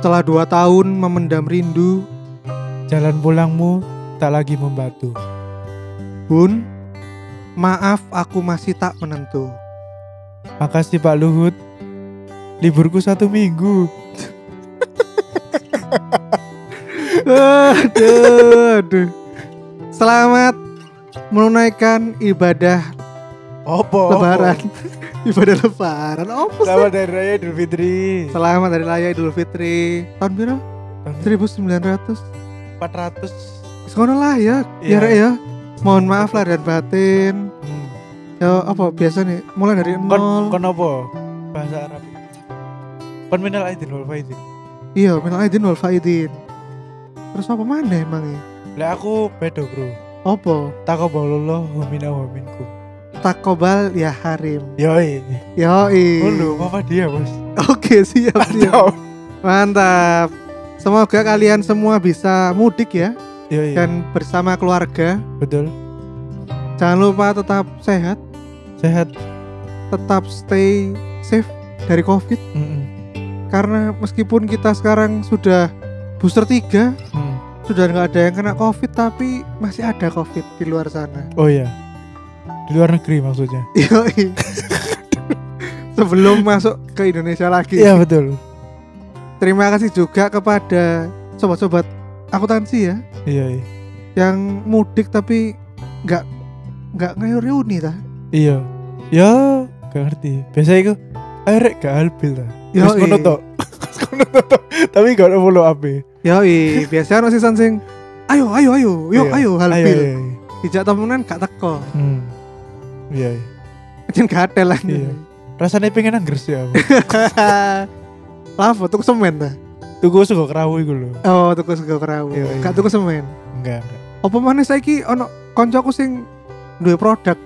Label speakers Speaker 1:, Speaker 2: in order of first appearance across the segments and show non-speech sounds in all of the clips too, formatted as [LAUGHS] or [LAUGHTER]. Speaker 1: Setelah dua tahun memendam rindu,
Speaker 2: Jalan pulangmu tak lagi membatu.
Speaker 1: Bun, maaf aku masih tak menentu.
Speaker 2: Makasih Pak Luhut. Liburku satu minggu.
Speaker 1: aduh, aduh. Selamat menunaikan ibadah
Speaker 2: Opo.
Speaker 1: lebaran. Oh. [LAUGHS] ibadah lebaran. Apa sih?
Speaker 2: Selamat Hari Raya Idul Fitri.
Speaker 1: Selamat Hari Raya Idul Fitri. Tahun berapa?
Speaker 2: Tahun
Speaker 1: 1900.
Speaker 2: 400.
Speaker 1: Sekolah lah ya, ya
Speaker 2: Iya.
Speaker 1: Rek ya. Mohon maaf lah dan batin.
Speaker 2: Hmm.
Speaker 1: Ya apa biasa nih? Mulai dari
Speaker 2: Kon
Speaker 1: nol.
Speaker 2: kon apa? Bahasa Arab. Kon minal aidin wal faizin.
Speaker 1: Iya, minal aidin wal faidin. Terus apa mana emang ya?
Speaker 2: Lah aku bedo, Bro.
Speaker 1: Apa?
Speaker 2: Taqabbalallahu minna wa minkum.
Speaker 1: Takobal ya harim.
Speaker 2: Yoi.
Speaker 1: Yoi.
Speaker 2: Ulu mama dia, Bos.
Speaker 1: Oke, siap siap. Mantap. Semoga kalian semua bisa mudik ya
Speaker 2: Yoi.
Speaker 1: dan
Speaker 2: Kan?
Speaker 1: bersama keluarga.
Speaker 2: betul.
Speaker 1: Jangan lupa tetap sehat,
Speaker 2: Sehat.
Speaker 1: tetap stay safe dari Covid
Speaker 2: Mm-mm.
Speaker 1: karena meskipun kita sekarang sudah booster 3,
Speaker 2: Hmm.
Speaker 1: sudah nggak ada yang kena Covid tapi masih ada Covid di luar sana. [LAUGHS]
Speaker 2: Oh iya. Di luar negeri maksudnya.
Speaker 1: Yoi. Sebelum masuk ke Indonesia lagi.
Speaker 2: Iya, betul.
Speaker 1: Terima kasih juga kepada sobat-sobat akuntansi ya
Speaker 2: Iya, iya.
Speaker 1: yang mudik tapi nggak nggak reuni ta.
Speaker 2: Iya. Ya, gak ngerti. Biasa iku ayo rek gak albil ta.
Speaker 1: Yoi.
Speaker 2: Terus ngono tok. [LAUGHS] Terus ngono tok. Tapi gak ada follow up.
Speaker 1: [LAUGHS] Yoi, biasanya ono season sing ayo ayo ayo, yuk
Speaker 2: Iya.
Speaker 1: ayo halbil.
Speaker 2: Ayo, iya.
Speaker 1: Dijak temenan gak teko.
Speaker 2: Hmm. Iya, iya.
Speaker 1: Jen gak ada lah. [LAUGHS]
Speaker 2: Iya. rasanya pengen anggers ya aku. [LAUGHS]
Speaker 1: Lavo tuku semen ta.
Speaker 2: tuku sego kerawu iku lho
Speaker 1: Oh, tuku sego perahu.
Speaker 2: Iya, iya.
Speaker 1: Gak tuku semen.
Speaker 2: enggak enggak
Speaker 1: Apa maneh saiki ono koncoku sing duwe produk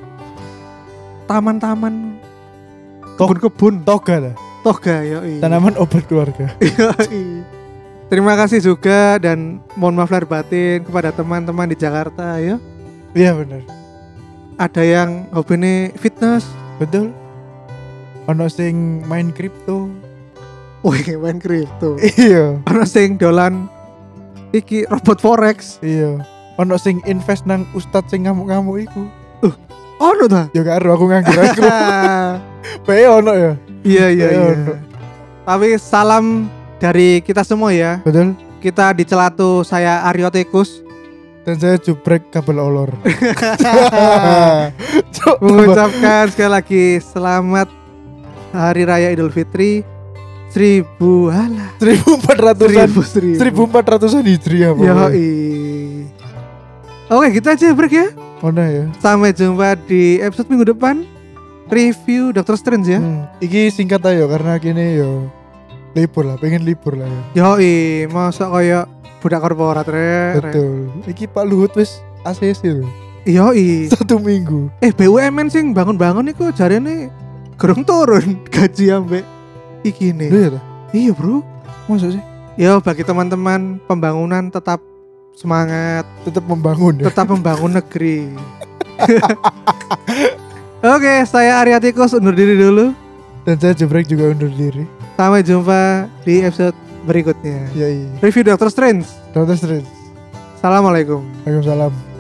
Speaker 1: taman-taman
Speaker 2: Tok-
Speaker 1: kebun-kebun
Speaker 2: toga lah
Speaker 1: toga yoi.
Speaker 2: tanaman obat keluarga [LAUGHS]
Speaker 1: Yoi. Terima kasih juga dan mohon maaf lahir batin kepada teman-teman di Jakarta ya.
Speaker 2: iya bener
Speaker 1: Ada yang hobinya fitness,
Speaker 2: betul ono sing main kripto
Speaker 1: wih main kripto.
Speaker 2: iya
Speaker 1: [LAUGHS] Ono sing dolan iki robot forex.
Speaker 2: iya ono sing invest nang ustad sing ngamuk-ngamuk iku
Speaker 1: Ono ta? [LAUGHS]
Speaker 2: ya gak aru aku nganggur aku [LAUGHS] bae ono ya
Speaker 1: Iya iya
Speaker 2: Iya,
Speaker 1: iya.
Speaker 2: ono.
Speaker 1: Tapi salam dari kita semua ya.
Speaker 2: betul
Speaker 1: Kita di Celatu saya Aryo Tikus [LAUGHS]
Speaker 2: dan saya jubrek kabel olor [LAUGHS] Cuk,
Speaker 1: mengucapkan sekali lagi selamat Hari Raya Idul Fitri seribu Iya, alah
Speaker 2: 1400-an
Speaker 1: seribu seribu.
Speaker 2: 1400-an hijriah pokoknya.
Speaker 1: Yoi. Oke, kita aja break ya.
Speaker 2: ono ya
Speaker 1: Sampai jumpa di episode minggu depan. Review Doctor Strange ya.
Speaker 2: Hmm, iki singkat ayo karena kini yo libur lah, pengen libur lah ya.
Speaker 1: Yoi, masa koyo budak korporat re. re.
Speaker 2: Betul. Iki Pak Luhut wis ACC lho.
Speaker 1: Yoi.
Speaker 2: Satu minggu.
Speaker 1: Eh BUMN sing bangun-bangun iku jarene gerung turun [LAUGHS] gaji ambek iki
Speaker 2: Lho
Speaker 1: nih.
Speaker 2: ya ta?
Speaker 1: Iya, Bro.
Speaker 2: Masa sih?
Speaker 1: Yo bagi teman-teman pembangunan tetap semangat,
Speaker 2: Tetap membangun ya.
Speaker 1: tetap membangun
Speaker 2: [LAUGHS]
Speaker 1: negeri. Oke, saya Arya Tikus undur diri dulu.
Speaker 2: Dan saya jebrek juga undur diri.
Speaker 1: Sampai jumpa di episode berikutnya.
Speaker 2: Ya iya.
Speaker 1: Review Doctor Strange.
Speaker 2: Dr. Strange.
Speaker 1: Assalamualaikum.
Speaker 2: Waalaikumsalam.